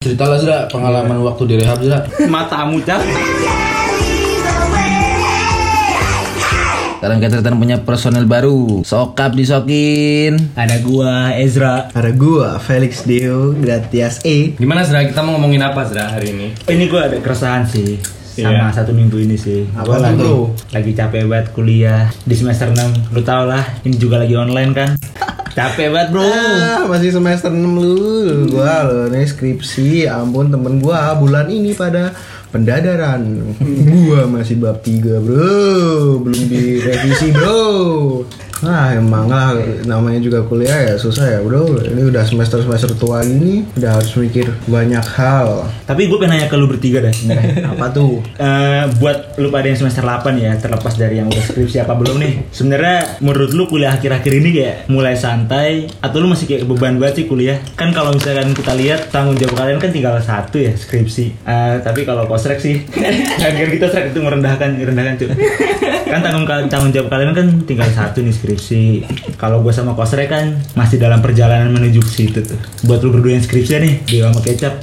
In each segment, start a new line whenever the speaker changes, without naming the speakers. cerita lah Zra pengalaman waktu di rehab Zra
Matamu cak.
sekarang kita datang punya personel baru sokap disokin
Ada gua Ezra.
Ada gua Felix Dio Gratias E.
Gimana Zra? Kita mau ngomongin apa Zra hari ini?
Ini gua ada keresahan sih sama
Iya.
satu minggu ini sih.
Apa
Gua
tuh,
lagi,
bro?
lagi capek banget kuliah di semester 6. Lu tau lah, ini juga lagi online kan. capek banget, Bro.
Ah, masih semester 6 lu. Gua lo ini skripsi. ya Ampun temen gua bulan ini pada pendadaran. gua masih bab 3, Bro. Belum direvisi, Bro. Nah, emang lah namanya juga kuliah ya susah ya, Bro. Ini udah semester-semester tua ini udah harus mikir banyak hal.
Tapi gue pengen nanya ke lu bertiga dah sebenarnya.
Apa tuh?
Eh, buat lu pada yang semester 8 ya terlepas dari yang udah skripsi apa belum nih sebenarnya menurut lu kuliah akhir-akhir ini kayak mulai santai atau lu masih kayak beban banget sih kuliah kan kalau misalkan kita lihat tanggung jawab kalian kan tinggal satu ya skripsi Eh, tapi kalau kosrek sih akhir kita srek itu merendahkan merendahkan tuh kan tanggung tanggung jawab kalian kan tinggal satu nih skripsi kalau gue sama kosrek kan masih dalam perjalanan menuju ke situ tuh buat lu berdua yang skripsi nih dewa sama kecap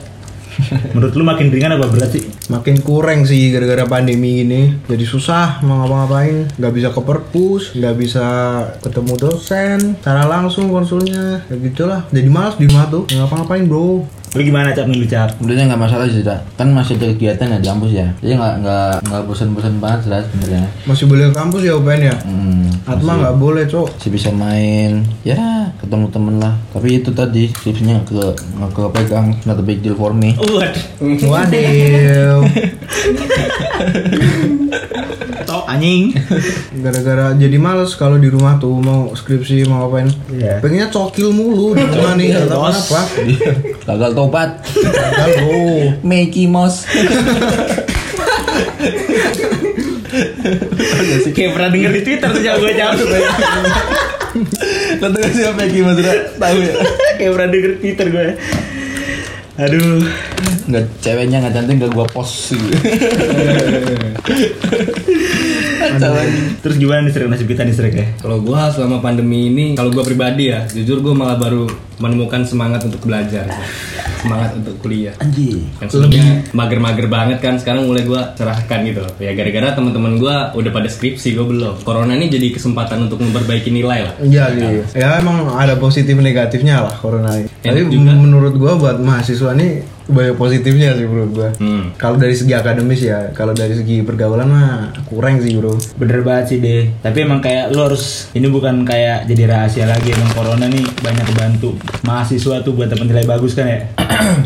menurut lu makin ringan apa berat sih
Makin kurang sih gara-gara pandemi ini. Jadi susah mau ngapa-ngapain. Nggak bisa ke perpus, nggak bisa ketemu dosen, cara langsung konsulnya. Ya gitulah. Jadi malas di rumah tuh. Nggak Ngapa-ngapain bro?
Lu gimana cap nih lu cap?
sebenarnya nggak masalah sih Zra kan masih ada kegiatan ya di kampus ya jadi nggak nggak nggak bosan-bosan banget Zra sebenarnya
Masih boleh ke kampus ya UPN ya?
hmm,
Atma nggak boleh cok.
masih bisa main ya ketemu temen lah tapi itu tadi tipsnya ke nggak ke pegang not a big deal for
Oh,
me
Waduh,
Waduh.
tok anjing.
Gara-gara jadi males kalau di rumah tuh mau skripsi mau ngapain.
Iya.
Pengennya cokil mulu di rumah nih. nggak tahu kenapa?
iya.
gagal tobat
Gagal bro.
Mickey Mouse
Kayak pernah denger di Twitter tuh cap gue cap.
lo tuh siapa Mickey Mouse Zra tahu ya
Kayak pernah denger di Twitter gue. Aduh,
nggak ceweknya nggak cantik nggak gua post gitu
terus gimana nih Srek nasib kita nih Srek ya?
Kalau gua selama pandemi ini, kalau gua pribadi ya, jujur gua malah baru menemukan semangat untuk belajar, semangat untuk kuliah.
anjir
Yang sebelumnya mager-mager banget kan, sekarang mulai gua cerahkan gitu loh. Ya gara-gara teman-teman gua udah pada skripsi, gua belum. Corona ini jadi kesempatan untuk memperbaiki nilai lah.
Iya iya. Ya emang ada positif negatifnya lah corona ini.
Ya,
Tapi
juga.
menurut gua buat mahasiswa nih banyak positifnya sih menurut gua.
Hmm.
Kalau dari segi akademis ya, kalau dari segi pergaulan mah kurang sih bro.
Bener banget sih deh. Tapi emang kayak lu harus ini bukan kayak jadi rahasia lagi emang corona nih banyak bantu mahasiswa tuh buat dapat nilai bagus kan ya.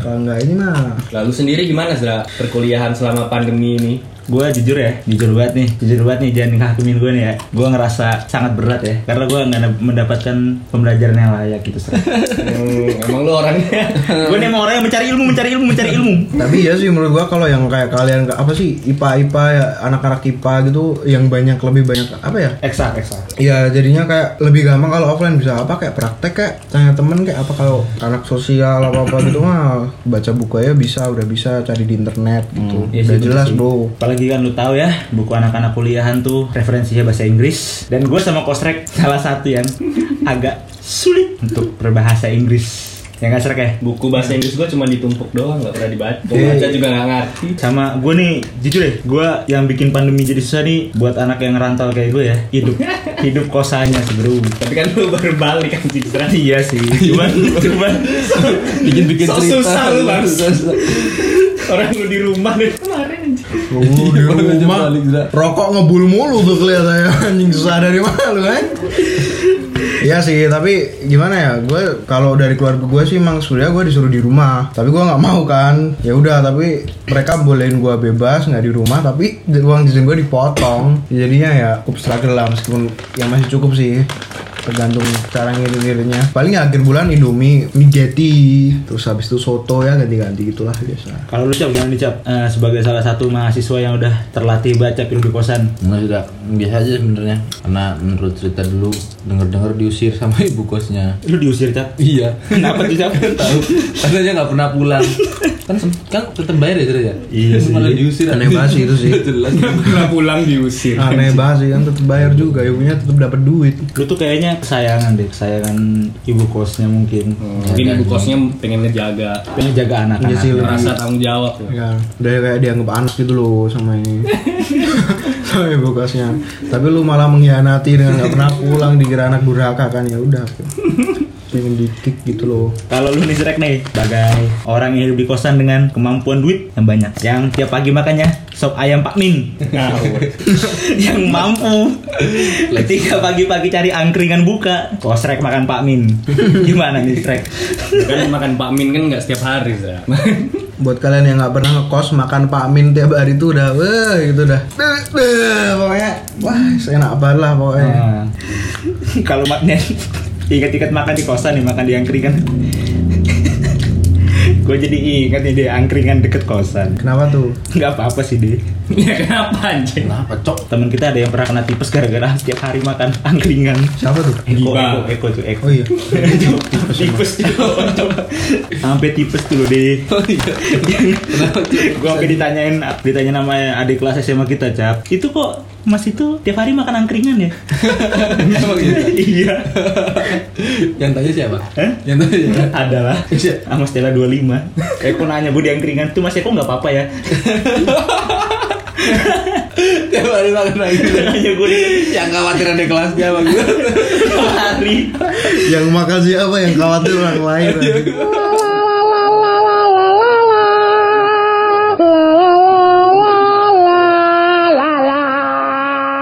Kalau nggak ini mah
Lalu sendiri gimana Zra perkuliahan selama pandemi ini?
gue jujur ya jujur banget nih jujur banget nih jangan ngakumin gue nih ya gue ngerasa sangat berat ya karena gue nggak na- mendapatkan pembelajaran yang layak gitu Hmm,
emang lu orangnya
gue nih emang orang yang mencari ilmu mencari ilmu mencari ilmu
tapi ya sih menurut gua kalau yang kayak kalian apa sih IPA IPA ya, anak-anak IPA gitu yang banyak lebih banyak apa ya
eksak eksak
Ya jadinya kayak lebih gampang kalau offline bisa apa kayak praktek kayak tanya temen kayak apa kalau anak sosial apa apa gitu mah baca buku aja bisa udah bisa cari di internet gitu
Iya sih,
udah
bener
jelas
sih.
bro
Apalagi kan lu tahu ya, buku anak-anak kuliahan tuh referensinya bahasa Inggris. Dan gue sama Kostrek salah satu yang agak sulit untuk berbahasa Inggris. Ya nggak Srek ya?
Buku bahasa Inggris gua cuma ditumpuk doang, nggak pernah dibaca.
Eh.
Gua baca juga nggak ngerti.
Sama gue nih, jujur ya, gue yang bikin pandemi jadi susah nih buat anak yang rantau kayak gue ya. Hidup, hidup kosannya sih bro.
Tapi kan lu baru balik kan Zra.
Iya sih, cuman, cuman
bikin bikin
So
cerita
susah lu, Bang.
Susah.
orang lu di rumah deh.
Lu Oh, di rumah rokok ngebul mulu tuh kelihatannya anjing susah dari mana lu kan Iya sih, tapi gimana ya? Gue kalau dari keluarga gue sih emang sebenarnya gue disuruh di rumah, tapi gue nggak mau kan. Ya udah, tapi mereka bolehin gue bebas nggak di rumah, tapi uang jajan gue dipotong. Jadinya ya cukup struggle lah meskipun yang masih cukup sih tergantung cara ngirit-ngiritnya paling ya akhir bulan indomie migeti terus habis itu soto ya ganti-ganti gitulah biasa
kalau lu cap gimana nih cap Eh, sebagai salah satu mahasiswa yang udah terlatih baca film di kosan
Enggak Nah, sudah biasa aja sebenarnya karena menurut cerita dulu denger-denger diusir sama ibu kosnya
lu diusir cap
iya
kenapa tuh cap
tahu karena dia nggak pernah pulang
kan sem- kan tetap bayar ya ceritanya
Iya sih.
malah diusir
Aneh banget sih itu sih.
jelas
Pernah pulang diusir.
aneh banget sih kan tetap bayar juga ibunya tetap dapat duit
Lu tuh kayaknya kesayangan deh, kesayangan ibu kosnya mungkin.
Mungkin ibu kosnya pengen ngejaga,
Pengen jaga
Iya
anak-anak.
sih, lebih-
merasa tanggung jawab.
ya udah kayak dianggap anak gitu loh sama ini sama ibu kosnya tapi lu malah mengkhianati dengan nggak pernah pulang dikira anak durhaka kan ya udah pengen dikik gitu loh
Kalau lu nih Srek nih, sebagai orang yang hidup di kosan dengan kemampuan duit yang banyak, yang tiap pagi makannya sop ayam Pak Min, yang mampu ketika pagi-pagi cari angkringan buka, kok Srek makan Pak Min, gimana nih Srek?
Kan makan Pak Min kan nggak setiap hari, Zak.
buat kalian yang nggak pernah ngekos makan Pak Min tiap hari itu udah wah gitu dah Beuh, beuh, pokoknya wah enak banget lah pokoknya
Nah, Kalau maknya ingat-ingat makan di kosan nih, makan di angkringan. Gue jadi ingat nih di angkringan deket kosan.
kenapa tuh
Nggak apa-apa sih deh.
ya kenapa anjing?
Kenapa cok?
Temen kita ada yang pernah kena tipes gara-gara tiap hari makan angkringan.
siapa tuh
Eko,
Giba.
Eko, Eko tuh Eko.
oh iya
Itu tipes tuh. Sampai tipes tuh deh.
Oh, iya.
Gua sampai ditanyain, ditanya nama adik kelas SMA kita, Cap. Itu kok Mas itu tiap hari makan angkringan ya?
Emang gitu?
iya.
yang tanya siapa
Hah?
yang tanya siapa
adalah sama Stella 25 Eko nanya bu di angkringan tuh mas Eko nggak apa-apa ya
tiap hari makan lagi
nanya gue
yang khawatir ada kelasnya bang
hari
yang makan siapa yang khawatir orang lain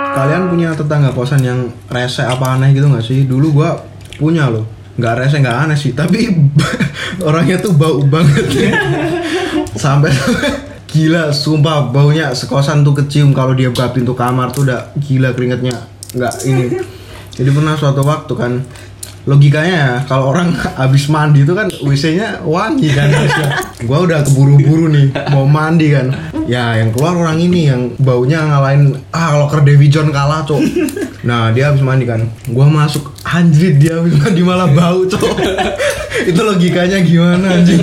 kalian punya tetangga kosan yang rese apa aneh gitu nggak sih dulu gua punya loh nggak rese nggak aneh sih tapi orangnya tuh bau banget sampai gila sumpah baunya sekosan tuh kecium kalau dia buka pintu kamar tuh udah gila keringetnya nggak ini jadi pernah suatu waktu kan logikanya ya kalau orang habis mandi itu kan WC-nya wangi kan harusnya. gua udah keburu-buru nih mau mandi kan ya yang keluar orang ini yang baunya ngalahin ah kalau Ker Dewi John kalah cok nah dia habis mandi kan gua masuk anjir dia habis mandi malah bau cok itu logikanya gimana anjing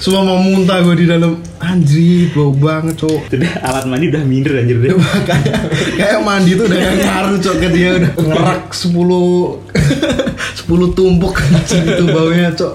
semua mau muntah gue di dalam anjir bau banget cok
sudah alat mandi udah minder anjir deh
kayak kayak mandi tuh udah yang ngaruh cok ke dia udah ngerak 10 10 tumpuk anjing itu baunya cok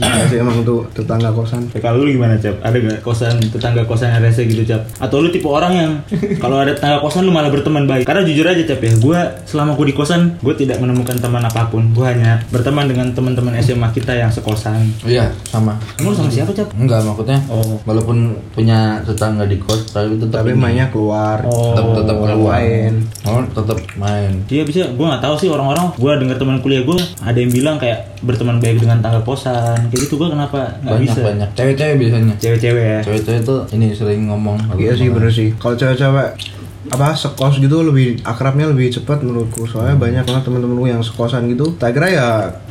Gila sih emang tuh tetangga kosan
kalau lu gimana cap ada gak kosan tetangga kosan yang rese gitu cap atau lu tipe orang yang kalau ada tetangga kosan lu malah berteman baik karena jujur aja cap ya gue selama gue di kosan gue tidak menemukan teman apapun gue hanya berteman dengan teman-teman SMA kita yang sekosan
Iya, sama.
kamu sama siapa cap
Enggak maksudnya.
Oh.
Walaupun punya tetangga di kos, tapi Oh. tetap
tapi mainnya keluar
tetap tetap keluar.
main.
Oh, tetap main.
Iya bisa, gue nggak tahu sih orang-orang. Gue dengar teman kuliah gue ada yang bilang kayak berteman baik dengan tangga kosan, kayak gitu gue kenapa nggak
Banyak
bisa?
banyak. Cewek-cewek biasanya.
Cewek-cewek ya.
Cewek-cewek tuh ini sering ngomong.
iya sih bener sih kalau cewek-cewek apa sekos gitu lebih akrabnya lebih cepat menurutku soalnya banyak banget temen-temenku yang sekosan gitu tak kira ya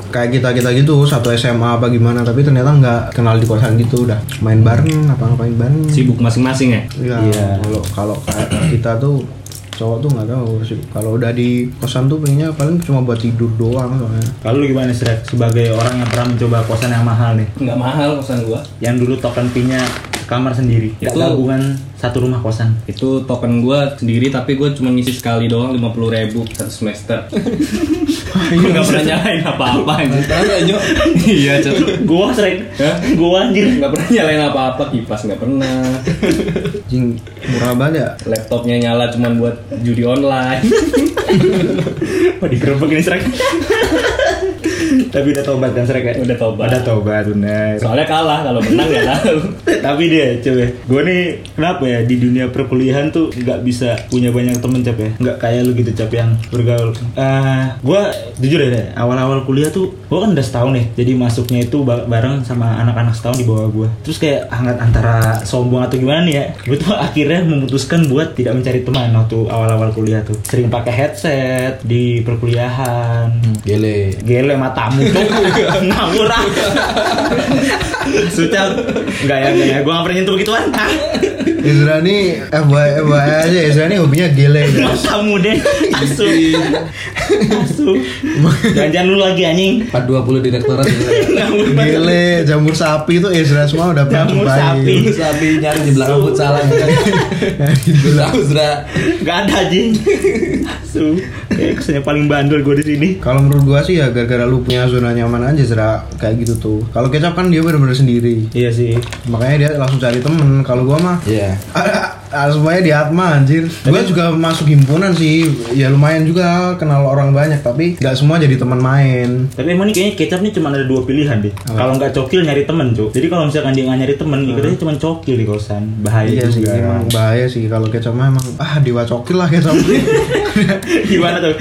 kayak kita kita gitu satu SMA apa gimana tapi ternyata nggak kenal di kosan gitu udah main bareng apa ngapain bareng
Sibuk masing-masing ya?
Iya.
Iya. Kalau kalau kayak kita tuh cowok tuh nggak tahu sih. Kalau udah di kosan tuh pengennya paling cuma buat tidur doang soalnya.
Kalau lu gimana sih sebagai orang yang pernah mencoba kosan yang mahal nih,
Nggak mahal kosan gua.
yang dulu token pinya kamar sendiri, itu
Itu-
gabungan satu rumah kosan.
Itu token gua sendiri tapi gua cuma ngisi sekali doang 50.000 ribu satu semester. gua nggak pernah nyalain apa-apa anjing. Iya, Cok.
Gua sering,
Hah?
gua anjir.
Nggak pernah nyalain apa-apa, kipas nggak pernah.
Jing murah banget ya.
Laptopnya nyala cuma buat judi online.
Wah digerebek ini sering. Tapi udah tobat kan sering
Udah tobat.
Udah tobat bener.
Soalnya kalah kalau menang nggak tahu.
tapi dia coba gue nih kenapa ya di dunia perkuliahan tuh nggak bisa punya banyak temen cap ya nggak kayak lu gitu cap yang bergaul ah gue jujur ya Dek, awal-awal kuliah tuh gue kan udah setahun nih jadi masuknya itu ba- bareng sama anak-anak setahun di bawah gue terus kayak hangat antara sombong atau gimana nih ya gue tuh akhirnya memutuskan buat tidak mencari teman waktu awal-awal kuliah tuh sering pakai headset di perkuliahan
Gele.
gele mata para tamu ngawur ah sudah nggak ya nggak ya gue nggak pernah nyentuh begituan ah
Izra nih FYI FYI aja Izra nih hobinya gele guys.
kamu deh asu asu jangan lu lagi anjing
420 direktorat
ya,
ngawur banget
Gele, jamur sapi itu Izra semua udah pernah
Jamur
cobain.
sapi.
sapi nyari di belakang
ya,
futsalan Usra Usra
nggak ada anjing asu kayak kesannya paling bandel gue di sini
Kalau menurut gua sih ya gara-gara lu punya zona nyaman aja Zra kayak gitu tuh. Kalau kecap kan dia bener-bener sendiri.
iya sih
Makanya dia langsung cari temen. Kalau gua mah
Iya.
Ah, semuanya di Atma anjir Gue juga masuk himpunan sih Ya lumayan juga kenal orang banyak Tapi gak semua jadi teman main
Tapi emang ini kayaknya kecap nih cuma ada dua pilihan deh.
Apa?
Kalau nggak cokil nyari temen cuy. Jadi kalau misalkan dia nggak nyari temen, ikutnya cuma cokil di kosan. Bahaya
Iya sih,
juga. ya.
emang bahaya sih kalau kecap mah emang ah diwacokil lah kecap.
Gimana tuh?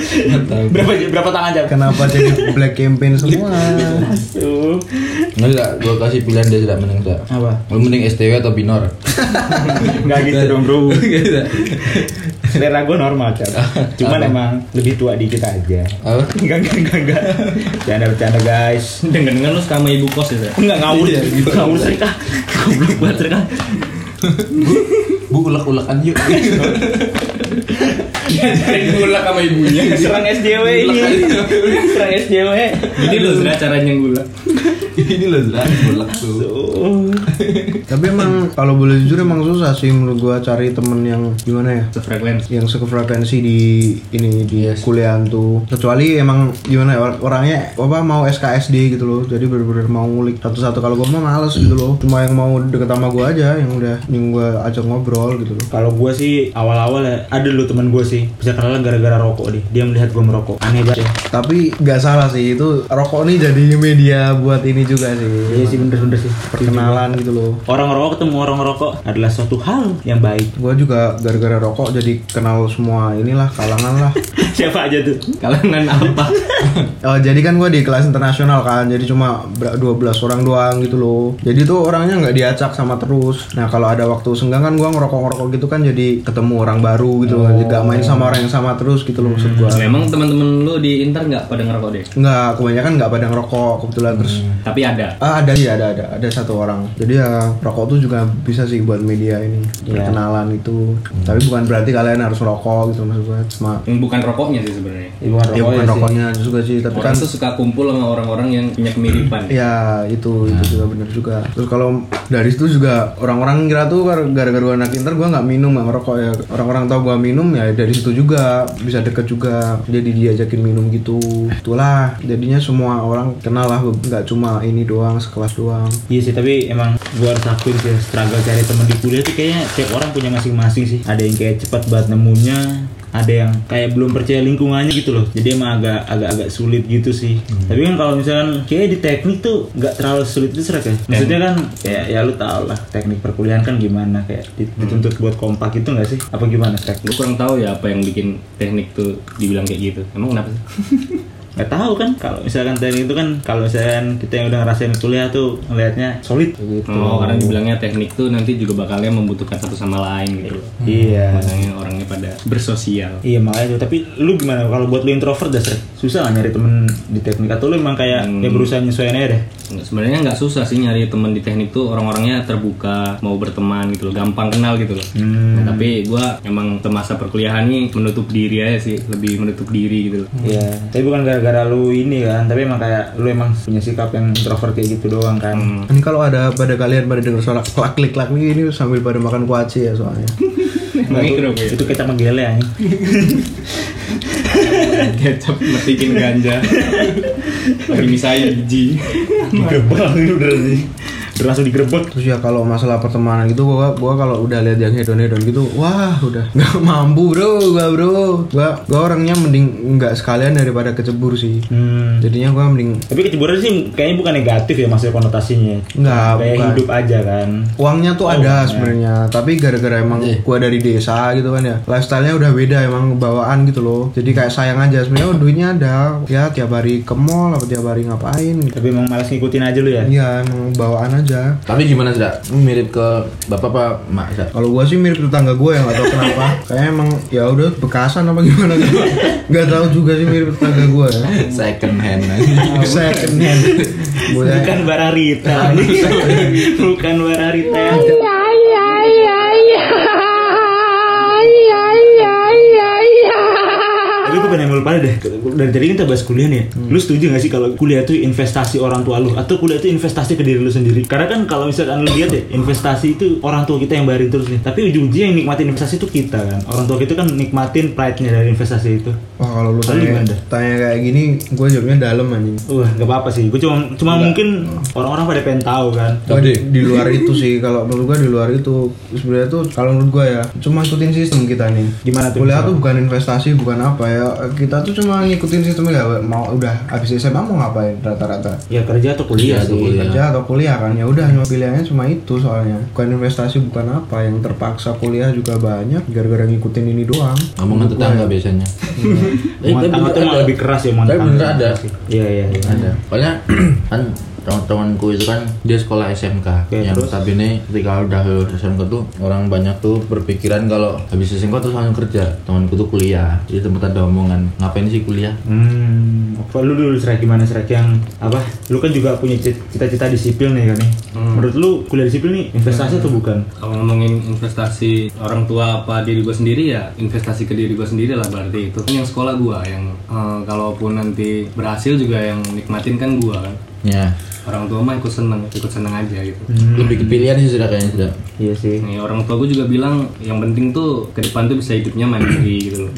berapa berapa tangan cap?
Kenapa jadi black campaign semua?
Tuh.
Enggak, gua kasih pilihan dia tidak mending tidak.
Apa?
Lu mending STW atau binor?
Nggak gitu dong bro. Selera gue normal cap. Cuman emang lebih tua dikit aja.
Apa?
Enggak enggak enggak enggak. Bercanda bercanda guys.
Dengan dengan lu sama ibu kos ya. Zak?
Enggak ngawur ya. Ngawur sih kah? Goblok banget sih kah?
Bu ulek-ulekan yuk.
Cari gulak sama ibunya
Serang SJW ini. Serang SJW.
Gini loh Zra caranya gula.
Ini loh Zra, ulek tuh.
Tuh.
Tapi
Hmm.
emang kalau boleh jujur emang susah sih menurut gua cari temen yang gimana ya?
Sefrekuensi.
yang sefrekuensi di ini di kuliahan tuh kecuali emang gimana ya or- orangnya apa mau SKSD gitu loh jadi bener-bener mau ngulik satu-satu kalau gua mah males gitu loh cuma yang mau deket sama gua aja yang udah yang gua ajak ngobrol gitu loh
Kalau gue sih awal-awal ya, ada dulu teman gue sih bisa kenal gara-gara rokok deh. Dia melihat gue merokok, aneh banget. Ya.
tapi nggak salah sih itu rokok nih jadi media buat ini juga sih
Iya sih bener-bener sih.
perkenalan gitu loh
Orang rokok ketemu orang rokok adalah suatu hal yang baik.
gua juga gara-gara rokok jadi kenal semua inilah kalangan lah
Siapa aja tuh?
Kalangan apa?
Eh, jadi kan gue di kelas internasional kan, jadi cuma ber- 12 orang doang gitu loh. Jadi tuh orangnya nggak diacak sama terus. Nah kalau ada waktu senggang kan gue ngerokok-ngerokok gitu kan, jadi ketemu orang baru gitu loh. Jadi Gak main sama orang yang sama terus gitu loh maksud gue.
Memang teman-teman lu di Inter nggak pada ngerokok deh.
Nggak, kebanyakan nggak pada ngerokok kebetulan terus.
Tapi ada.
Ah ada iya ada ada ada satu orang. Jadi ya rokok tuh juga bisa sih buat media ini perkenalan itu. Tapi bukan berarti kalian harus rokok gitu maksud gue. Cuma
Yang bukan rokoknya sih sebenarnya.
Ya, bukan rokok
ya bukan
ya sih.
rokoknya juga sih, tapi
Orang
kan
tuh suka kumpul sama orang-orang yang punya kemiripan.
Ya itu itu juga benar juga. Terus kalau dari situ juga orang-orang kira tuh gar- gara-gara gua anak inter gua nggak minum nggak ngerokok ya. Orang-orang tahu gua minum ya dari situ juga bisa deket juga. Jadi diajakin minum gitu. Itulah jadinya semua orang kenal lah nggak cuma ini doang sekelas doang.
Iya sih, tapi emang gue harus akuin sih struggle cari temen di kuliah tuh kayaknya tiap orang punya masing-masing sih. Ada yang kayak cepat banget nemunya, ada yang kayak belum percaya lingkungannya gitu loh. Jadi emang agak agak agak sulit gitu sih. Tapi kan kalau misalkan kayak di teknik tuh nggak terlalu sulit itu serak ya. Maksudnya kan kayak ya lu tau lah teknik perkuliahan kan gimana kayak di- dituntut buat kompak gitu nggak sih? Apa gimana
Gue
teknik?
kurang tahu ya apa yang bikin teknik tuh dibilang kayak gitu. Emang kenapa sih?
Gak tahu kan kalau misalkan teknik itu kan kalau misalkan kita yang udah ngerasain kuliah tuh ngelihatnya solid gitu.
Oh, karena dibilangnya teknik tuh nanti juga bakalnya membutuhkan satu sama lain gitu. loh.
Iya.
Makanya orangnya pada bersosial.
Iya makanya tuh. tapi lu gimana kalau buat lu introvert dasar susah nggak nyari temen di teknik atau lu emang kayak
Hmm.
ya berusaha nyesuaiin aja deh
Nggak- Sebenarnya nggak susah sih nyari teman di teknik tuh orang-orangnya terbuka, mau berteman gitu loh, gampang kenal gitu loh.
Hmm.
Nah, tapi gua emang ke masa perkuliahan nih menutup diri aja sih, lebih menutup diri gitu loh.
Iya, tapi bukan gara-gara lu ini kan, tapi emang kayak lu emang punya sikap yang introvert kayak gitu doang kan.
Ini kalau ada pada kalian pada denger suara klak klik klak nih, ini sambil pada makan kuaci ya soalnya.
Emang mikro gue ya.
Itu kita menggele ya.
Kecap metikin ganja. Lagi misalnya biji.
Digerebek ini udah sih. Udah langsung digerebek.
Terus ya kalau masalah pertemanan gitu gua gua kalau udah lihat yang hedon hedon gitu, wah udah nggak mampu bro, gua bro, gua gua orangnya mending nggak sekalian daripada kecebur sih.
Hmm.
Jadinya gua mending
Tapi kecemburuan sih kayaknya bukan negatif ya maksudnya konotasinya.
Nggak,
kayak
bukan.
hidup Oh, iya. aja kan.
uangnya tuh ada sebenarnya, tapi gara-gara emang
Iya.
gua dari desa gitu kan ya, lifestyle-nya udah beda emang bawaan gitu loh. Jadi kayak sayang aja sebenarnya oh, duitnya ada, ya tiap hari ke mall apa tiap hari ngapain gitu.
Tapi emang malas ngikutin aja lu ya.
Iya emang bawaan aja
Tapi gimana sih, Dak? Lu Mirip ke bapak apa emak, Dak?
Kalau gua sih mirip tetangga gue yang gak tau kenapa. Kayaknya emang ya udah bekasan apa gimana gitu. Gak tau juga sih mirip tetangga gue ya.
Second hand.
Second hand. ya. Boleh.
Bukan Bararita Iya. Bukan Bararita yang Tapi gue pengen lu pada deh Dari tadi kita bahas kuliah nih ya
Hmm.
Lu setuju gak sih kalau kuliah itu investasi orang tua lu Atau kuliah itu investasi ke diri lu sendiri Karena kan kalau misalkan lu lihat ya Investasi itu orang tua kita yang bayarin terus nih Tapi ujung-ujungnya yang nikmatin investasi itu kita kan Orang tua kita kan nikmatin pride-nya dari investasi itu
Wah kalau lu
Lalu
tanya,
gimana?
tanya kayak gini, gue jawabnya dalam anjing.
Wah gak apa-apa sih Gue cuma, cuma mungkin orang-orang pada pengen tahu kan
Gua di, di luar itu sih kalau menurut gue di luar itu sebenarnya tuh kalau menurut gue ya cuma ngikutin sistem kita nih
Gimana tuh?
kuliah tuh bukan investasi bukan apa ya kita tuh cuma ngikutin sistem ya mau udah habis SMA mau ngapain rata-rata
Ya kerja atau kuliah
Iya, atau
sih
kuliah.
kerja atau kuliah kan ya udah cuma pilihannya cuma itu soalnya bukan investasi bukan apa yang terpaksa kuliah juga banyak gara-gara ngikutin ini doang
Ngomongan tetangga biasanya. Eh,
ya. Iya. Omongan
tapi
tangga tuh
bener
malah
ada.
lebih keras ya omongan
Tapi
tangga.
bener ada.
Iya iya iya.
Ada. Soalnya kan teman-temanku itu kan dia sekolah SMK
Oke,
yang
terus?
tapi ini ketika udah lulus SMK tuh orang banyak tuh berpikiran kalau habis SMK terus langsung kerja temanku tuh kuliah jadi tempat ada omongan ngapain sih kuliah
Hmm, apa lu dulu serak gimana serak yang apa? Lu kan juga punya cit- cita-cita di sipil nih kan nih. Menurut lu kuliah di sipil nih investasi atau bukan?
Kalau ngomongin investasi orang tua apa diri gue sendiri ya investasi ke diri gue sendiri lah berarti itu. Yang sekolah gue yang eh, kalaupun nanti berhasil juga yang nikmatin kan gue kan.
ya
Orang tua mah ikut seneng, ikut seneng aja gitu.
Hmm.
lebih kepilihan sih sudah kayaknya sudah
Iya sih.
Nih, orang tua gue juga bilang yang penting tuh ke depan tuh bisa hidupnya mandiri gitu loh.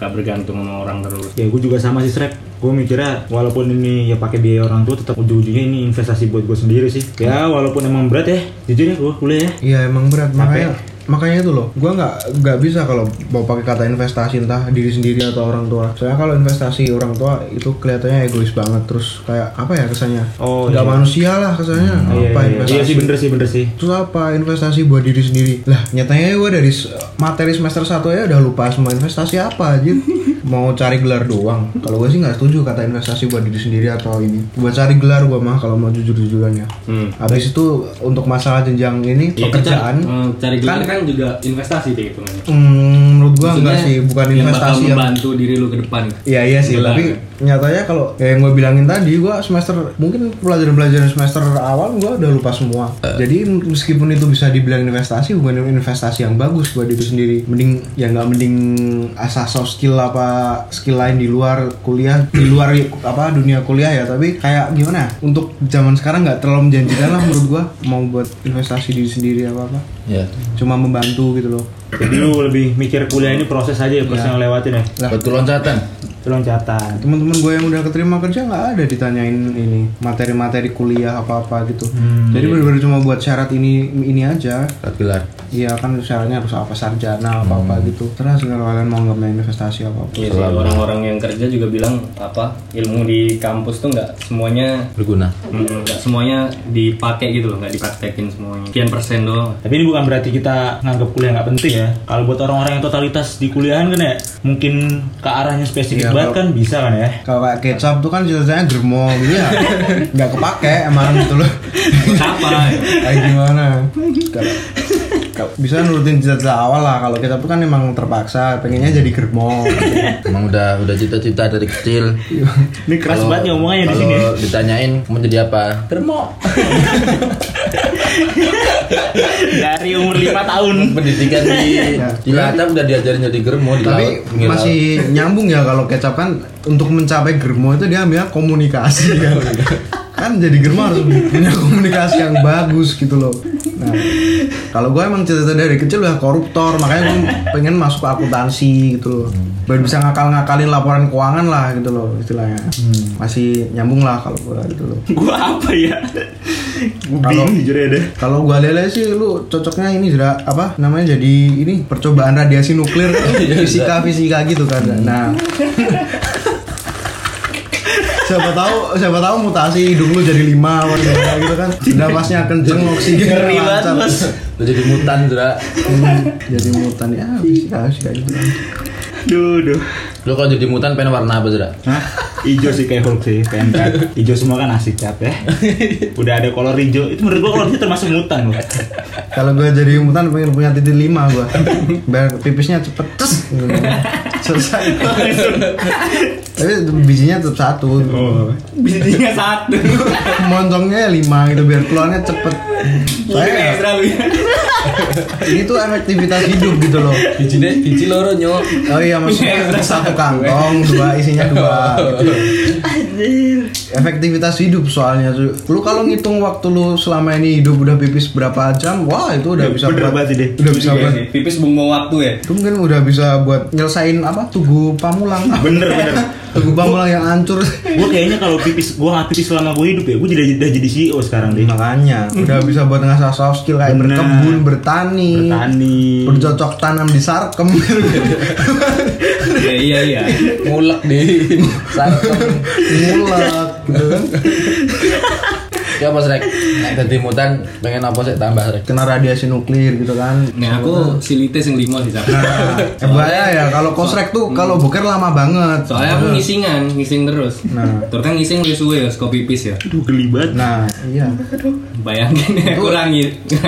Gak bergantung sama orang terus.
Ya gue juga sama sih Shrek Gue mikirnya walaupun ini ya pakai biaya orang tua tetap ujung-ujungnya ini investasi buat gue sendiri sih Ya walaupun emang berat ya Jujur ya gue kuliah ya
iya emang berat makanya
Capek.
makanya itu loh gue nggak nggak bisa kalau mau pakai kata investasi entah diri sendiri atau orang tua soalnya kalau investasi orang tua itu kelihatannya egois banget terus kayak apa ya kesannya
Oh,
nggak
iya.
manusia lah kesannya
Iya,
apa
iya, iya.
investasi
Iya sih bener sih bener sih
Terus apa investasi buat diri sendiri? Lah, nyatanya gue dari s- materi semester 1 ya udah lupa semua investasi apa anjir. Mau cari gelar doang. Kalau gue sih nggak setuju kata investasi buat diri sendiri atau ini. Buat cari gelar gue mah kalau mau jujur-jujuran ya.
Hmm.
Habis itu untuk masalah jenjang ini
Ya,
pekerjaan
kita, eh, cari gelar
Kan-
kan juga investasi deh hitungannya.
hmm, menurut gue enggak
Maksudnya
sih, bukan
yang
investasi
bakal
yang
membantu diri lu ke depan.
Iya iya sih,
Gelar. kan.
tapi nyatanya kalau ya yang gue bilangin tadi, gue semester mungkin pelajaran-pelajaran semester awal gue udah lupa semua. Jadi meskipun itu bisa dibilang investasi, bukan investasi yang bagus buat diri sendiri. Mending ya nggak mending asah soft skill apa skill lain di luar kuliah, di luar apa dunia kuliah ya. Tapi kayak gimana? Untuk zaman sekarang nggak terlalu menjanjikan lah menurut gue. Mau buat investasi diri sendiri apa apa,
ya
cuma membantu gitu loh.
Jadi lu lebih mikir kuliah ini proses aja ya Proses yang lewatin ya
Lah.
batu loncatan
Loncatan
Nah, teman-teman gue yang udah keterima kerja nggak ada ditanyain ini materi-materi kuliah apa-apa gitu jadi bener-bener cuma buat syarat ini ini aja
Buat gelar
iya kan syaratnya harus apa sarjana apa-apa gitu terus kalau kalian mau nggak main investasi apa apa
Iya sih, orang-orang yang kerja juga bilang apa ilmu di kampus tuh nggak semuanya
berguna
mm, nggak semuanya dipakai gitu loh, nggak dipraktekin semuanya. Sekian persen doang.
Tapi ini bukan berarti kita nganggap kuliah nggak penting ya. Kalau buat orang-orang yang totalitas di kuliahan kan ya, mungkin ke arahnya spesifik
Iya,
banget
kalau-
kan bisa kan ya.
kalau kayak kecap tuh kan cita-citanya dermo gitu ya nggak kepake emang gitu loh
Apa?
kayak gimana Kalau- kalau- bisa nurutin cita-cita awal lah kalau kita tuh kan emang terpaksa pengennya jadi germo
emang udah udah cita-cita dari kecil
Ini keras banget nih omongannya di sini.
kalau ditanyain mau jadi apa
Termo. Dari umur 5 tahun.
pendidikan di di Latam udah diajarin jadi germo di
Nah. Tapi
laut, pinggir
masih nyambung ya kalau kecap kan untuk mencapai germo itu dia ambilnya komunikasi kan. kan jadi germo harus punya komunikasi yang bagus gitu loh. Nah, kalau gue emang cerita dari kecil udah koruptor, makanya gue pengen masuk ke akuntansi gitu loh. Biar bisa ngakal-ngakalin laporan keuangan lah gitu loh istilahnya. Masih nyambung lah kalau gue gitu loh.
Gua apa ya? Gua
Kalau-
bingung jujur ya deh.
Kalau gua lele sih lu cocoknya ini Zra, apa namanya jadi ini percobaan radiasi nuklir
Iya,
fisika fisika gitu kan. Nah. siapa tahu siapa tahu mutasi hidung lu jadi lima apa gimana gitu kan. Napasnya kenceng oksigen
Ngeri banget,
lancar.
Mas.
Udah jadi mutan, Dra.
Hmm, jadi mutan ya fisika fisika gitu. kan.
Duh, duh.
Lu kalau jadi mutan pengen warna apa sih? Dak?
Hah? Ijo sih kayak Hulk sih, pengen cat. Ijo semua kan asik cat ya. Udah ada kolor hijau, itu menurut gua kolor hijau termasuk mutan loh.
Kalau gue jadi mutan pengen punya titik lima gue Biar pipisnya cepet tes gitu. Selesai Tapi bijinya tetap satu
Oh, bijinya satu.
Montongnya lima gitu biar keluarnya cepet
Ini
Saya
ekstra lu ya.
ini tuh efektivitas hidup gitu loh
bijinya biji loro nyok
Oh iya maksudnya satu kantong dua isinya dua gitu. Efektivitas hidup soalnya cuy. Lu kalau ngitung waktu lu selama ini hidup udah pipis berapa jam, wah itu udah
Ya,
bisa
bener banget sih, deh.
udah bisa
Iya.
buat
Pipis bungo waktu ya.
itu mungkin udah bisa buat nyelesain apa tugu pamulang
Bener bener.
tugu pamulang yang hancur
Gua kayaknya kalau pipis, gua nggak pipis selama gua hidup ya, gua jadi udah jadi CEO sekarang deh.
makanya udah bisa buat ngasah soft skill kayak
Bener.
berkebun bertani
Bertani.
bercocok tanam di sarkem
Iya iya iya.
ngulek di sarkem
mulak gitu kan
Ya apa Rek?
Nah.
Nek Jadi mutan pengen apa sih tambah Rek?
kena radiasi nuklir gitu kan
Nah aku silites yang lima sih Sat.
nah eh, bahaya ya kalau kosrek tuh kalau boker lama banget
Soalnya aku ngisingan, ngising terus. Nah, terus kan ngising lebih suwe ya, kopi pipis ya.
Aduh geli banget.
nah iya
Bayangin ya, kurang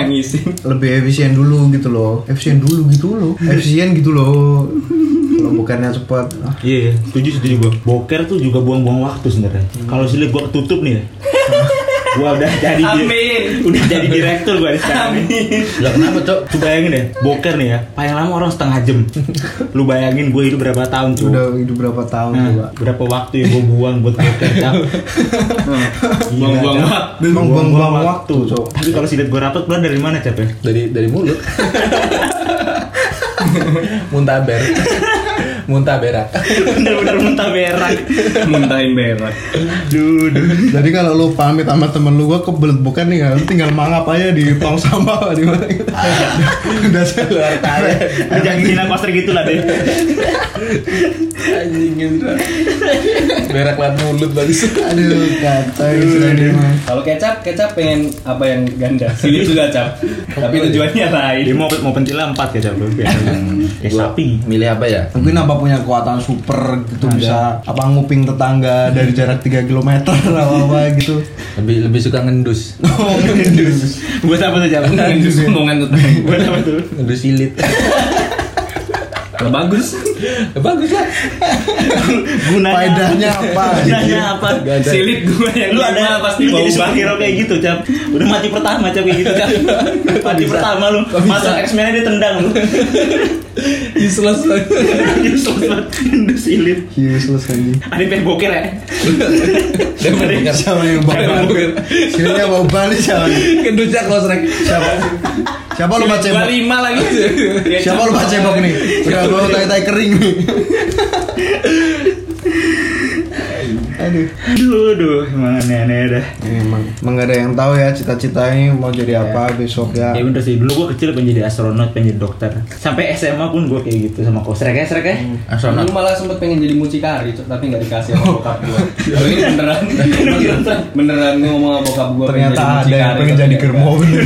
ngising.
lebih efisien dulu gitu loh efisien dulu gitu loh efisien gitu loh kalau bokernya cepet ah,
Iya, iya, setuju setuju gua. Boker tuh juga buang-buang waktu sebenarnya.
Hmm.
Kalau silit gua ketutup nih. ya. gua udah jadi di-
Amin.
udah jadi direktur gua di sekarang.
Lah kenapa cok?
Lu bayangin deh, boker nih ya, paling lama orang setengah jam. Lu bayangin gue hidup berapa tahun tuh?
udah hidup berapa tahun
Nah,
coba
berapa waktu yang gue buang buat boker? Cak?
Nah,
Gila,
Buang-buang
Cak.
waktu.
Emang buang-buang waktu, Cok.
Tapi kalau sidat gue rapat, keluar dari mana Cap ya?
Dari dari mulut. Muntaber. Muntaberak.
Bener-bener muntah berak.
muntahin berak.
Duh, duh.
Jadi kalau lu pamit sama temen lu, gua kebelet bukan nih, lu tinggal mangap aja di tong sampah apa di mana. Udah selesai.
Lu Jangan hina koster gitu lah deh.
Anjing gitu. Berak lewat mulut bagus.
Eh, Aduh, kata ini mah.
Kalau kecap, kecap pengen apa yang ganda? Silit juga cap. Tapi tujuannya lain.
Dia mau mau pentila empat ya Cap. lu biasanya. Ya sapi.
Milih apa ya?
Mungkin apa punya kekuatan super gitu bisa apa nguping tetangga dari jarak 3 km apa apa gitu.
Lebih lebih suka ngendus.
Oh, ngendus.
Buat apa tuh Cap?
Terus omongan tetangga.
Buat apa tuh?
Ngendus silit.
Lah, Bagus.
Bagus lah.
Gunanya
Faedahnya apa?
Gunanya apa?
Silit gua yang
Lu ada
pasti
lu
mau
jadi
banget.
superhero kayak gitu Cap. Udah mati pertama Cap kayak gitu Cap. Mati pertama lu. Masuk X-Men dia tendang lu.
useless
Yusuf banget. Nendus silit.
Useless anjing.
Ada yang pengen boker ya?
Dia berbakar.
Sama yang bawa. Sininya bawa balik siapa? nih?
kendutnya close rank
Siapa? Siapa lu baca?
Gua lima lagi.
Siapa lu baca cebok nih? Udah bawa tai-tai kering nih. Aduh.
Aduh, aduh, emang aneh-aneh dah.
Emang, emang gak ada yang tahu ya cita-cita ini mau jadi apa besok ya.
Ya bener sih, dulu gue kecil pengen jadi astronot, pengen jadi dokter Sampai SMA pun gue kayak gitu sama kosrek ya, srek ya
Astronot.
Dulu Hmm. malah sempet pengen jadi mucikari, Cok, tapi nggak dikasih sama bokap
Oh,
gua.
iya.
Loh, ini beneran, beneran, beneran ngomong sama bokap gua. pengen
Ternyata ada
jadi
yang
mucikari,
pengen
tapi
jadi
nggak
germo bener.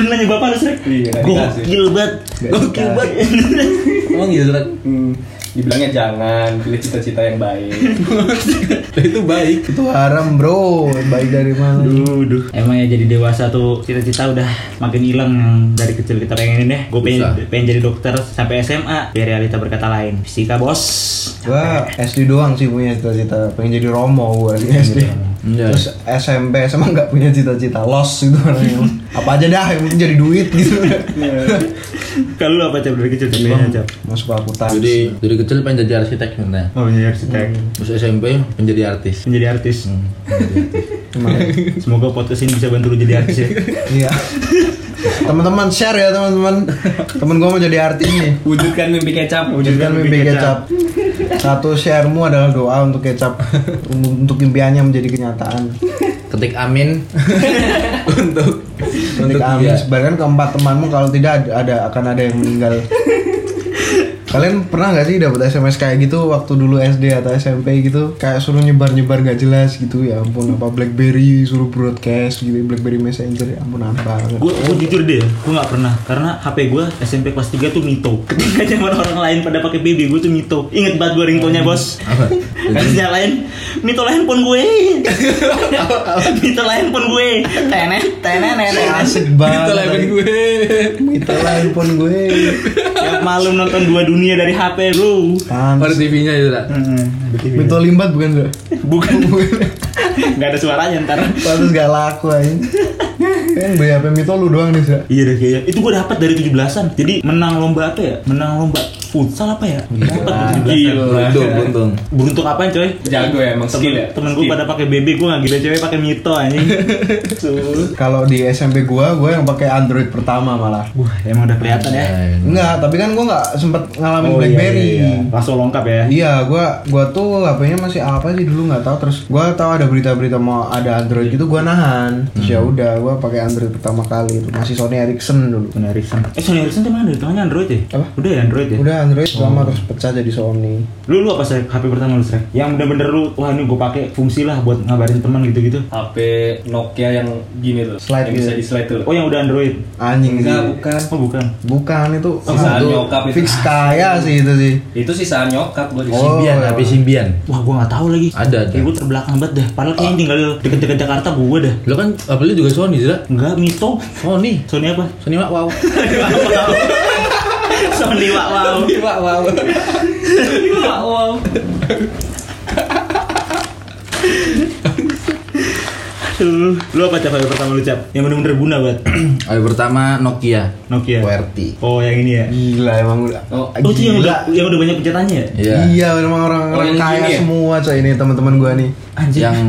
Lu nanya bapak lu, srek?
Iya, nggak dikasih.
Gokil banget Gokil banget
Emang gitu Rek?
Hmm, dibilangnya jangan pilih cita-cita yang baik.
Nah, Itu baik.
Itu haram bro, baik dari mana?
Duh, duh. Emang ya jadi dewasa tuh cita-cita udah makin hilang yang dari kecil kita pengenin deh Gue pengen,
Susah.
pengen jadi dokter sampai SMA Biar realita berkata lain Fisika bos
Gua SD doang sih punya cita-cita pengen jadi romo gua di SD.
Iya.
Terus SMP SMA nggak punya cita-cita los gitu orangnya. Apa aja dah yang penting jadi duit gitu.
Kalau lu apa cap dari kecil?
Iya.
Pengennya cap
Masuk fakultas.
Jadi dari kecil pengen jadi arsitek sebenarnya.
Oh, menjadi arsitek
Terus SMP menjadi artis.
Menjadi artis
Hmm.
Emang.
Semoga podcast ini bisa bantu lu jadi artis ya
Iya. Teman-teman share ya teman-teman. Temen gua mau jadi artis nih.
Wujudkan mimpi kecap.
Wujudkan mimpi kecap. Satu sharemu adalah doa untuk kecap untuk impiannya menjadi kenyataan.
Ketik amin. untuk
Ketika amin
dia.
sebarkan keempat temanmu kalau tidak ada- ada akan ada yang meninggal. Kalian pernah nggak sih dapat SMS kayak gitu waktu dulu SD atau SMP gitu? Kayak suruh nyebar-nyebar gak jelas gitu ya ampun apa BlackBerry suruh broadcast gitu BlackBerry Messenger ya ampun apa.
gue gue jujur deh gue nggak pernah karena HP gue SMP kelas 3 tuh mito ketika zaman orang lain pada pakai BB gue tuh mito inget banget gue ringtone-nya bos harus nyalain mito lain pun gue mito lain pun gue tenet tenet tenet
Asik banget.
gue.
Itu lah handphone gue.
tiap malam nonton dua dunia dari HP bro
Pan.
Ada TV-nya ya, Zara?
Betul limbat bukan enggak?
bukan nggak ada suaranya ntar
Pantes gak laku aja. Kan beli HP Mito lu doang nih, Zak.
iya deh kayaknya itu gue dapat dari 17-an jadi menang lomba apa ya menang lomba futsal apa ya dapat tujuh
Gila.
Untung, untung.
beruntung apaan coy
Jago ya, emang skill ya.
temen gue
Skill.
pada pakai BB gue nggak gila cewek pakai mito anjing Tuh.
Kalau di SMP gua, gua yang pakai Android pertama malah.
wah emang udah kelihatan ya
Oh, iya,
Enggak, tapi kan gua nggak sempet ngalamin
Oh, iya,
BlackBerry.
iya, iya. langsung lengkap ya
Iya, gua gua tuh HP-nya masih apa sih dulu nggak tahu. Terus gua tahu ada berita-berita mau ada Android gitu, gua nahan. Terus
Hmm.
ya udah, gua pakai Android pertama kali itu masih Sony Ericsson dulu.
Sony Ericsson eh Sony Ericsson tuh mana dari tangannya Android ya
Apa?
udah ya Android ya
Udah Android lama terus pecah jadi Sony.
lu lu apa sih HP pertama lu sih yang bener-bener lu wah ini gue pakai fungsi lah buat ngabarin teman gitu-gitu
HP Nokia yang gini loh,
Slide
yang
gitu.
bisa di slide tuh.
oh yang udah Android
Anjing
Enggak,
sih.
bukan.
oh bukan
Bukan itu
Sisaan
itu
nyokap itu.
fix kaya sih itu sih.
Itu sisaan nyokap gua di
Oh.
Simbian, tapi simbian.
wah gue nggak tahu lagi
Ada, ada.
ibu terbelakang banget dah padahal kayaknya tinggal deket-deket Jakarta gue dah
Lo kan apa lu juga Sony, Zira?
enggak mito
Sony.
Sony apa
Sony Mak wow.
Sony Wak Wow
Wah, wah, wah.
wow. Aduh, lu apa cap yang pertama lu cap? Yang bener-bener guna buat
Ayo pertama Nokia.
Nokia.
QWERTY.
Oh yang ini ya.
Gila emang udah.
Oh,
Oh itu yang
Gila.
udah yang udah banyak pencetannya ya?
Iya.
Iya, memang orang,
Orang yang
kaya
gini ya?
semua coy ini teman-teman gua nih.
Anjir.
Yang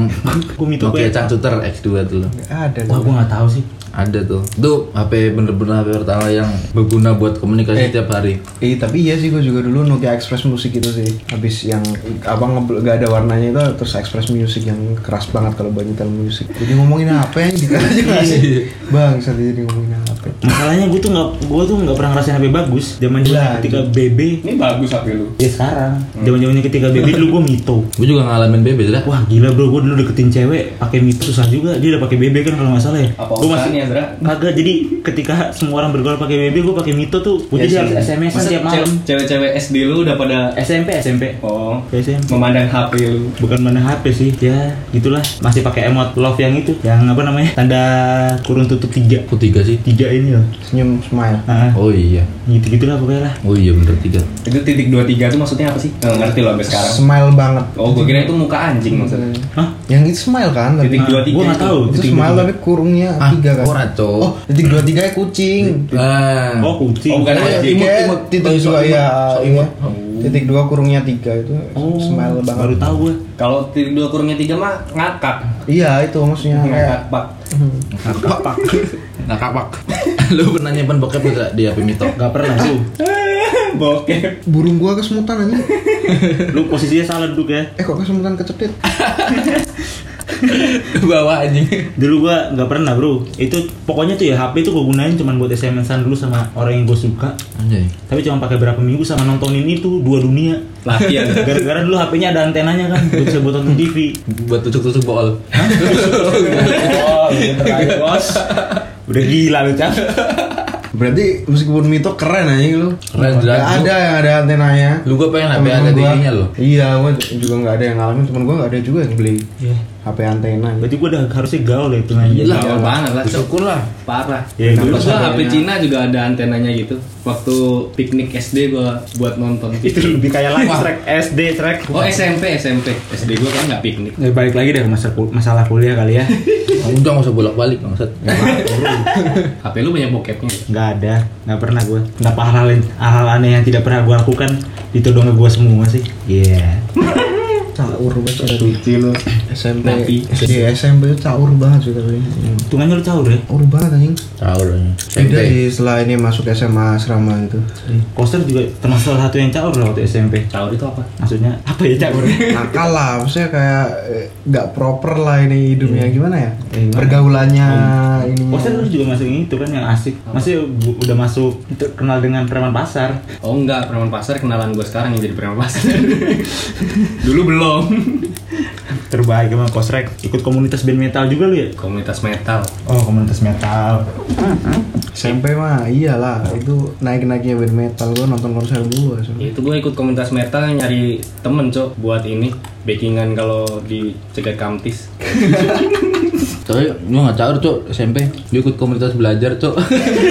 Gua mito
Nokia
gua.
Cangcuter X2 dulu.
Nggak Ada.
Wah
dong.
gua nggak tahu sih.
Ada tuh. Itu HP bener-bener HP pertama yang berguna buat komunikasi tiap hari.
Eh tapi iya sih gua juga dulu Nokia Express Music itu sih. Habis yang abang nge- nggak ada warnanya itu terus Express Music yang keras banget kalau buat nyetel musik. Jadi ngomongin apa ya? yang dikasih sih? Bang, saya jadi ngomongin apa?
Masalahnya gua tuh nggak gua tuh nggak pernah ngerasain HP bagus. Zaman
Lah,
zaman ketika BB
ini bagus HP lu.
ya sekarang. Zaman zamannya ketika BB dulu gua mito.
Gue juga ngalamin BB, Zira.
Wah gila bro, gue dulu deketin cewek pakai mito susah juga. Dia udah pakai BB kan kalau nggak salah ya.
Apa
Gua masih
urusannya, Zra?
Kagak, jadi ketika semua orang bergaul pakai BB, gue pakai mito tuh. Gue
Ya,
jadi
sih.
harus SMS
Masa
tiap malam.
ce- Cewek-cewek SD lu udah pada
SMP, SMP.
oh,
SMP.
memandang HP lu.
Bukan mana HP sih, ya gitulah. Masih pakai emot love yang itu, yang apa namanya? Tanda kurung tutup tiga.
Aku tiga sih.
Tiga ini loh.
Senyum smile.
Nah,
Oh iya.
gitu gitulah pokoknya lah.
Oh iya bener tiga.
Itu titik 23 tuh maksudnya apa sih? Nggak ngerti loh sampai sekarang.
Smile banget.
Oh, gua kira itu muka anjing maksudnya.
Hah?
Yang itu smile kan? Tapi
Titik
Nah,
23.
gua nggak tahu.
itu
titik
smile
dua
tapi kurungnya
Ah,
tiga kan?
ora, Cok.
Oh, titik dua tiga kucing.
Ah.
tiga. Oh kucing.
Oh, bukan.
Kayak
Anjing.
tiga,
Imut, imut.
titik
Oh,
dua
imut.
iya,
Oh,
iya.
imut.
Titik dua kurungnya tiga itu
Oh,
smile
baru
banget.
tahu gue.
Kalau titik 2 kurungnya 3 mah ngakak.
Iya itu maksudnya kayak
Ngakak, Pak.
Kapak. Nah kapak. Lu pernah nyimpen bokep gak Zra, di HP Mito?
Gak pernah tuh.
Bokep.
burung gua kesemutan aja.
Lu posisinya salah duduk ya.
Eh kok kesemutan kecetit?
Bawa anjing.
Dulu gua nggak pernah bro. Itu pokoknya tuh ya HP itu gua gunain cuman buat SMS-an dulu sama orang yang gue suka.
Anjay.
Tapi cuma pakai berapa minggu sama nontonin itu dua dunia.
Latihan.
Gara-gara dulu HP-nya ada antenanya kan, gua bisa buat nonton TV.
Buat tusuk-tusuk bool.
Oh, gitu terakhir, bos. Udah gila lu cap.
Berarti meskipun Mito keren aja lu.
Keren,
Gak
jelas.
ada yang ada antenanya.
Lu gua pengen HP
Temen
ada
gua-
tingginya loh.
Iya, gua juga nggak ada yang ngalamin. Cuman gua nggak ada juga yang beli
Iya.
HP antena.
Berarti gua udah harusnya gaul ya itu aja.
Gila, banget lah. Cok.
Syukur lah.
Iya, Parah.
Ya, dulu
Terus
gua-
gua HP Cina juga ada antenanya gitu. Waktu piknik SD gua buat nonton.
itu lebih kayak live track SD track.
Oh SMP SMP SD gua kan nggak piknik.
Ya, balik lagi deh masa kul- masalah kuliah kali ya.
Udah nggak usah bolak-balik bangsat.
HP lu banyak bokepnya.
Nggak ada, nggak pernah gua. Kenapa hal-hal hal aneh yang tidak pernah gua lakukan ditodong ke gua semua sih? Iya.
Caur banget sih dari lu. SMP.
Napi.
Iya, Di SMP itu caur banget sih tapi.
Hitungannya lu caur ya?
Caur banget anjing.
Caur kayaknya.
Beda sih setelah ini masuk SMA asrama itu.
Koster juga termasuk salah satu yang caur loh waktu SMP.
Caur itu apa?
Maksudnya apa ya caur?
Nakal lah, maksudnya kayak eh, nggak proper lah ini hidupnya gimana ya? Pergaulannya ini.
Koster dulu juga masuk yang itu kan yang asik. Masih bu- udah masuk itu kenal dengan preman pasar.
Oh enggak, preman pasar kenalan gue sekarang yang jadi preman pasar. Dulu belum.
Terbaik emang Kostrek. Ikut komunitas band metal juga lu ya?
Komunitas metal.
Oh komunitas metal.
SMP mah iyalah itu naik-naiknya band metal gua nonton konser gua.
Ya, itu gue ikut komunitas metal nyari temen cok buat ini backingan kalau di cegat kamtis.
Tapi gue gak caur cok SMP Gue ikut komunitas belajar cok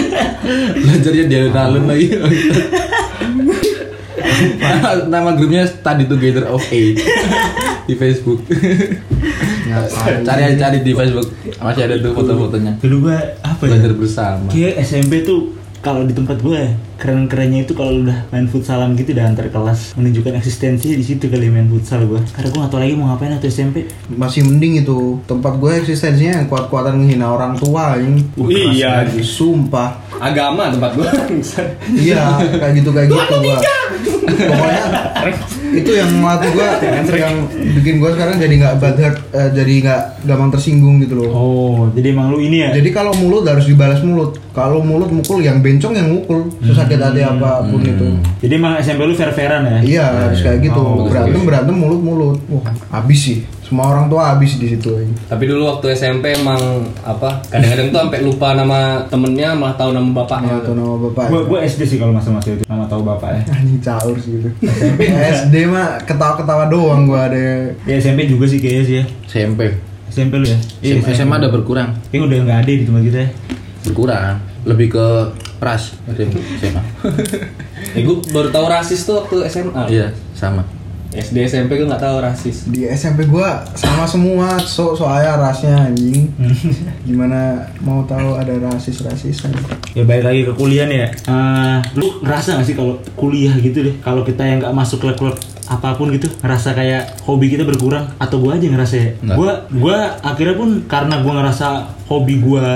Belajarnya di alun lagi nama, nama grupnya Study Together of Eight Di Facebook Cari aja cari di Facebook Masih ada tuh foto-fotonya
Dulu gua apa ya?
Belajar bersama
Kayak SMP tuh kalau di tempat gue keren-kerennya itu kalau udah main futsalan gitu udah antar kelas menunjukkan eksistensi di situ kali main futsal gue karena gue nggak tahu lagi mau ngapain atau SMP
Masih mending itu tempat gua eksistensinya yang kuat-kuatan menghina orang tua ini.
Wah, keras Iya.
lagi sumpah.
Agama tempat gue.
Iya, kayak gitu kayak gitu gua. Pokoknya itu yang melatih gua yang bikin gua sekarang jadi nggak bad heart, eh, jadi nggak gampang tersinggung gitu loh.
oh jadi emang lu ini ya
Jadi kalau mulut harus dibalas mulut. Kalau mulut mukul yang bencong yang mukul. Sesakit hati apapun itu.
jadi emang SMP lu fair-fairan ya
Iya, harus kayak gitu. berantem berantem mulut mulut. Wah, habis sih. Semua orang tua habis di situ. aja.
Tapi dulu waktu SMP emang apa? Kadang-kadang tuh sampai lupa nama temennya malah tahu nama bapaknya.
Atau nama bapak.
gue gue SD sih kalau masa-masa itu nama tahu bapak ya
Anjing caur sih gitu. SD mah ketawa-ketawa doang gua ada.
Ya, SMP juga sih kayaknya sih ya
SMP
SMP lu ya
Iya, SMA ada berkurang
Kayaknya udah nggak ada di tempat kita ya
Berkurang Lebih ke ras SMA
Eh gue baru tahu rasis tuh waktu SMA.
Iya sama
SD SMP gue nggak tahu rasis.
Di SMP gua sama semua so soalnya rasnya anjing. Gimana mau tahu ada rasis rasisan?
ya balik lagi ke kuliah nih ya Eh, lu ngerasa gak sih kalau kuliah gitu deh kalau kita yang nggak masuk klub klub apapun gitu ngerasa kayak hobi kita berkurang atau gua aja ngerasa ya
Nggak.
gua gua akhirnya pun karena gua ngerasa hobi gua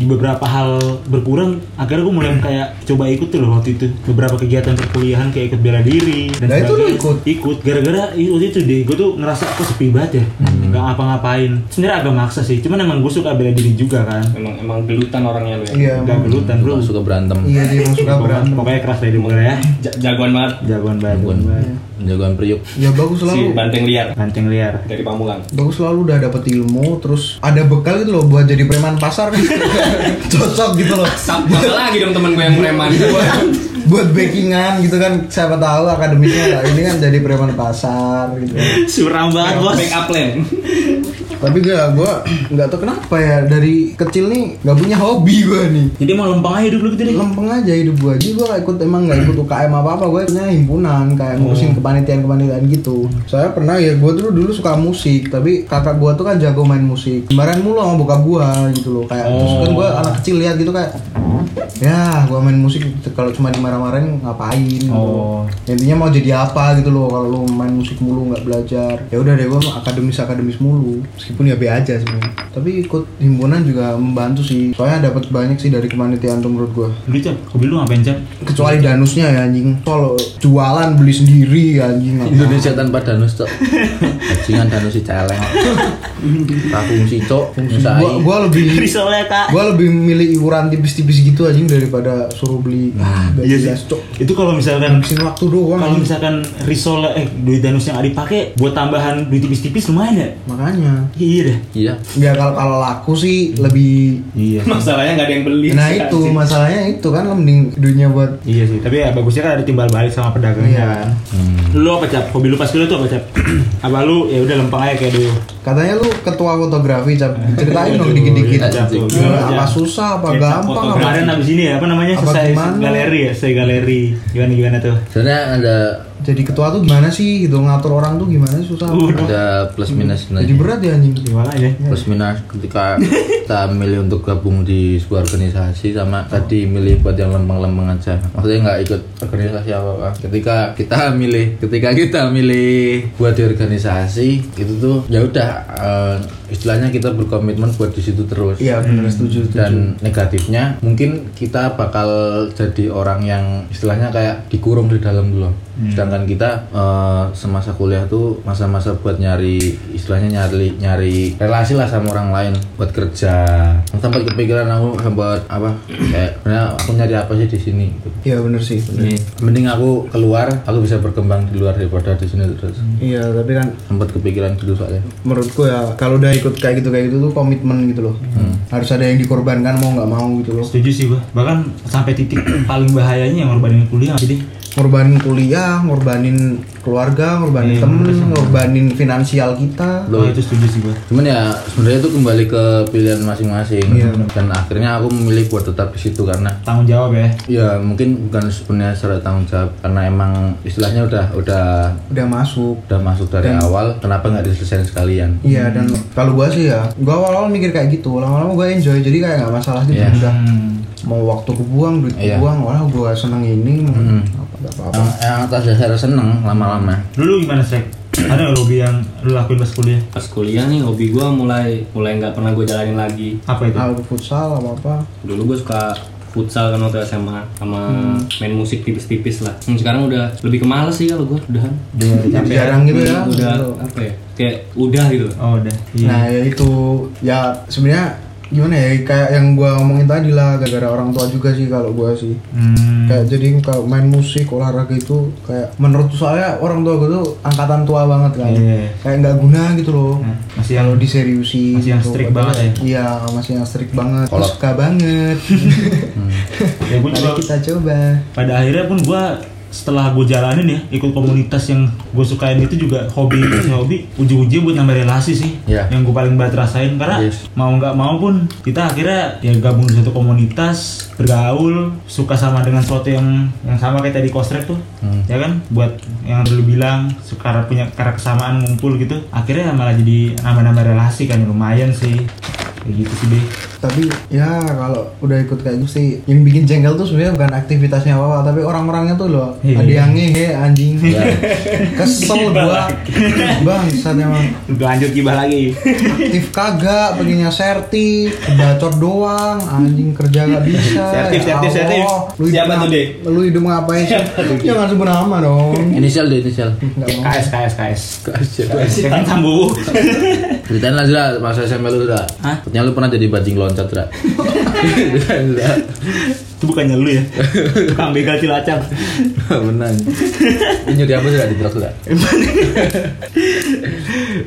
di beberapa hal berkurang akhirnya gua mulai kayak coba ikut tuh loh waktu itu beberapa kegiatan perkuliahan kayak ikut bela diri dan
Nah, itu lu
sebagainya.
ikut?
ikut gara-gara itu itu deh gue tuh ngerasa kok sepi banget ya
Hmm.
nggak ngapa-ngapain sebenarnya agak maksa sih cuman emang gue suka bela diri juga kan
Emang emang gelutan orangnya lu ya.
Iya,
Gak
emang.
gelutan bro
Lu suka berantem
Iya dia emang suka berantem.
Ya, Pokoknya keras dari mulai ya.
Ja- jagoan banget
Jagoan banget.
Jagoan
Iya.
Jagoan priuk
Ya bagus
si
selalu.
banteng liar
Kancing liar.
dari Pamulang.
bagus selalu udah dapet ilmu terus ada bekal gitu loh buat jadi preman pasar cocok gitu loh
Bakal lagi dong temen gue yang preman
buat backingan gitu kan siapa tahu akademiknya lah ini kan jadi preman pasar gitu
Suram banget bos.
Iya, Backup plan
tapi gak gue nggak tau kenapa ya dari kecil nih nggak punya hobi gue nih
Jadi mau lempeng aja dulu gitu deh.
lempeng aja hidup gue aja gue ikut emang nggak ikut UKM apa apa gue punya himpunan kayak
Oh.
ngurusin kepanitiaan kepanitiaan gitu saya pernah ya gue dulu dulu suka musik tapi kakak gue tuh kan jago main musik kemarin mulu sama bokap gue gitu loh kayak terus kan gue
Oh.
anak kecil lihat gitu kayak ya gue main musik kalau cuma dimarah-marahin ngapain gitu
Oh.
intinya mau jadi apa gitu loh kalau lu main musik mulu nggak belajar ya udah deh gue akademis akademis mulu meskipun ya be aja sebenarnya tapi ikut himpunan juga membantu sih soalnya dapat banyak sih dari kepanitiaan tuh menurut gue
Lu cap, hobi lu ngapain cap?
kecuali danusnya ya anjing kalau jualan beli sendiri ya anjing
Indonesia tanpa danus cok Bajingan danus si celeng Tak fungsi cok Fungsi
Iya.
gua, gua lebih
Risolnya kak.
gua lebih milih iuran tipis-tipis gitu anjing daripada suruh beli
Iya
gaji
sih.
gas cok
Itu kalau misalkan
habisin waktu doang
kalau
anjing.
misalkan risol eh duit danus yang ada dipakai buat tambahan duit tipis-tipis lumayan ya.
makanya
Iya dah.
Iya
ya kalau kalau laku sih lebih
Iya.
Masalahnya nggak ada yang beli
nah itu masalahnya itu kan lo mending duitnya buat
Iya sih, tapi ya bagusnya kan ada timbal balik sama pedagangnya
Iya.
kan. Lu apa cap? Hobi lu pas kuliah tuh apa cap? apa lu ya udah lempeng aja kayak dulu.
katanya lu ketua fotografi cap ceritain dong dikit-dikit
Cap, tuh.
Gimana, apa susah
Iya,
apa gampang apa
Kemarin abis ini ya, apa namanya?
Apa
Selesai
gimana?
galeri ya, selesai galeri. Gimana gimana tuh?
Sebenarnya ada
jadi ketua tuh gimana sih gitu ngatur orang tuh gimana sih, susah
Udah.
ada plus minus
jadi
sebenarnya
berat ya anjing
Gimana ya?
plus minus ketika kita milih untuk gabung di sebuah organisasi sama tadi milih buat yang lempeng-lempeng aja maksudnya nggak ikut organisasi apa apa ketika kita milih ketika kita milih buat di organisasi itu tuh ya udah eh, istilahnya kita berkomitmen buat di situ terus
Iya benar setuju setuju.
dan negatifnya mungkin kita bakal jadi orang yang istilahnya kayak dikurung di dalam dulu sedangkan kita eh, semasa kuliah tuh masa-masa buat nyari istilahnya nyari nyari relasi lah sama orang lain buat kerja sempat kepikiran aku sempat apa kayak "Nah, aku nyari apa sih di sini gitu.
Iya bener sih. bener.
mending aku keluar aku bisa berkembang di luar daripada di sini terus
Iya tapi kan
sempat kepikiran gitu soalnya
menurutku ya kalau udah ikut kayak gitu kayak gitu tuh komitmen gitu loh. Harus ada yang dikorbankan mau nggak mau gitu loh.
setuju sih gua bahkan sampai titik paling bahayanya yang ngorbanin kuliah jadi
Ngorbanin kuliah, ngorbanin keluarga, ngorbanin temen, ngorbanin finansial kita.
Loh.
itu setuju sih gua
cuman ya sebenarnya itu kembali ke pilihan masing-masing dan akhirnya aku memilih buat tetap di situ karena
tanggung jawab ya
ya mungkin bukan sebenarnya secara tanggung jawab karena emang istilahnya udah udah
Udah masuk.
udah masuk dari awal kenapa nggak diselesaikan sekalian
Iya dan kalau gua sih ya, gua awal-awal mikir kayak gitu, lama-lama gua enjoy jadi kayak nggak masalah gitu
Iya.
udah mau waktu kebuang, duit
Iya.
kebuang, wah gua seneng ini, apa nggak apa-apa.
yang, yang atas dasar seneng lama-lama
dulu gimana Srek? ada nggak hobi yang lu lakuin pas kuliah
Pas kuliah nih hobi gua mulai mulai nggak pernah gue jalanin lagi.
apa itu
Hal futsal apa apa,
Dulu gue suka futsal kan waktu SMA sama main musik tipis-tipis lah. Hmm, sekarang udah lebih ke males sih kalau gue udahan.
jadi jarang gitu ya.
udah apa ya? Kayak udah gitu. loh.
oh udah iya
Nah ya itu ya sebenarnya gimana ya kayak yang gua ngomongin tadi lah gara-gara orang tua juga sih kalau gua sih.
Hmm.
Kayak jadi kalau main musik olahraga itu kayak menurut soalnya orang tua gue tuh angkatan tua banget kan.
Iya.
Kayak nggak guna gitu loh.
Nah, masih yang
Kalau diseriusin
Masih yang
gitu.
strict
Padahal-
banget
Iya, masih yang strict banget.
Kolot.
Suka banget.
ya gue
Mari
juga
kita coba.
pada akhirnya pun gue setelah gue jalanin ya ikut komunitas yang gue sukain itu juga hobi hobi uji-uji buat nambah relasi sih
Iya.
yang gue paling banget rasain karena
Yes.
mau nggak mau pun kita akhirnya ya gabung di satu komunitas bergaul suka sama dengan sesuatu yang yang sama kayak tadi kostrek tuh
Hmm.
ya kan buat yang dulu bilang sekarang punya karena kesamaan ngumpul gitu akhirnya malah jadi nambah-nambah relasi kan lumayan sih kayak gitu sih deh
Tapi ya kalau udah ikut kayak gitu sih yang bikin jengkel tuh sebenarnya bukan aktivitasnya apa, tapi orang-orangnya tuh loh.
Iya.
Ada yang ngehe anjing.
ya
Kesel gua. Bangsat emang.
lanjut gibah lagi
aktif kagak pengennya serti bacot doang anjing kerja gak bisa Ya
Sertif, sertif, sertif.
Allah, lu hidup
Siapa tuh,
ngap-
Dek?
lu hidup ngapain sih jangan sebut nama dong
inisial deh inisial
Nggak mau.
KS KS KS
Kasih.
Jangan sambu.
ceritain lah Zra, masa SMA lu Zra
Hah?
ternyata lu pernah jadi bajing loncat Zra Ceritain, Zra.
Itu bukannya lu ya. Tukang begal Cilacap.
benar ini nyuri apa Zra di truk Zra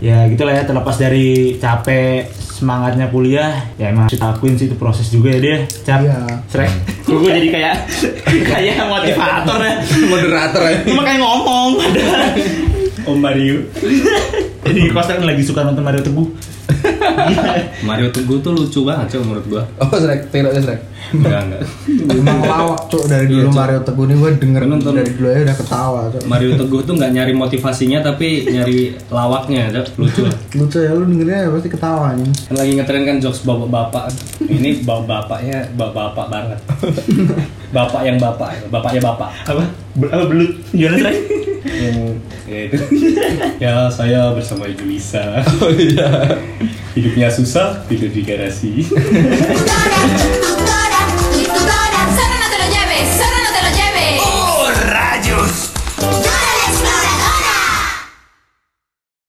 ya gitulah ya terlepas dari capek semangatnya kuliah ya emang harus dilakuin sih itu proses juga ya dia cap
Iya.
srek gue jadi kayak kayak motivator ya
moderator ya
Lu makanya ngomong Om Mario jadi kosan lagi suka nonton Mario Teguh
Mario Teguh tuh lucu banget coba menurut gue.
oh Zrek tengok Zrek
Enggak enggak.
emang lawak cuk dari
Iya,
dulu Mario Teguh ini gue denger
Penonton.
dari dulu aja udah ketawa cuk
Mario Teguh tuh nggak nyari motivasinya tapi nyari lawaknya, ada lucu. lah.
lucu ya lu dengernya pasti ketawa anjing
Kan lagi ngetren kan jokes bapak-bapak. Ini bapak-bapaknya bapak-bapak banget. Bapak yang bapak, bapaknya bapak.
apa Bel- apa belut gimana srek
Yang ya itu. ya saya bersama Ibu Lisa. Hidupnya susah, tidur di garasi.
Tutora, tutora, mi tutora, solo no te lo lleves, solo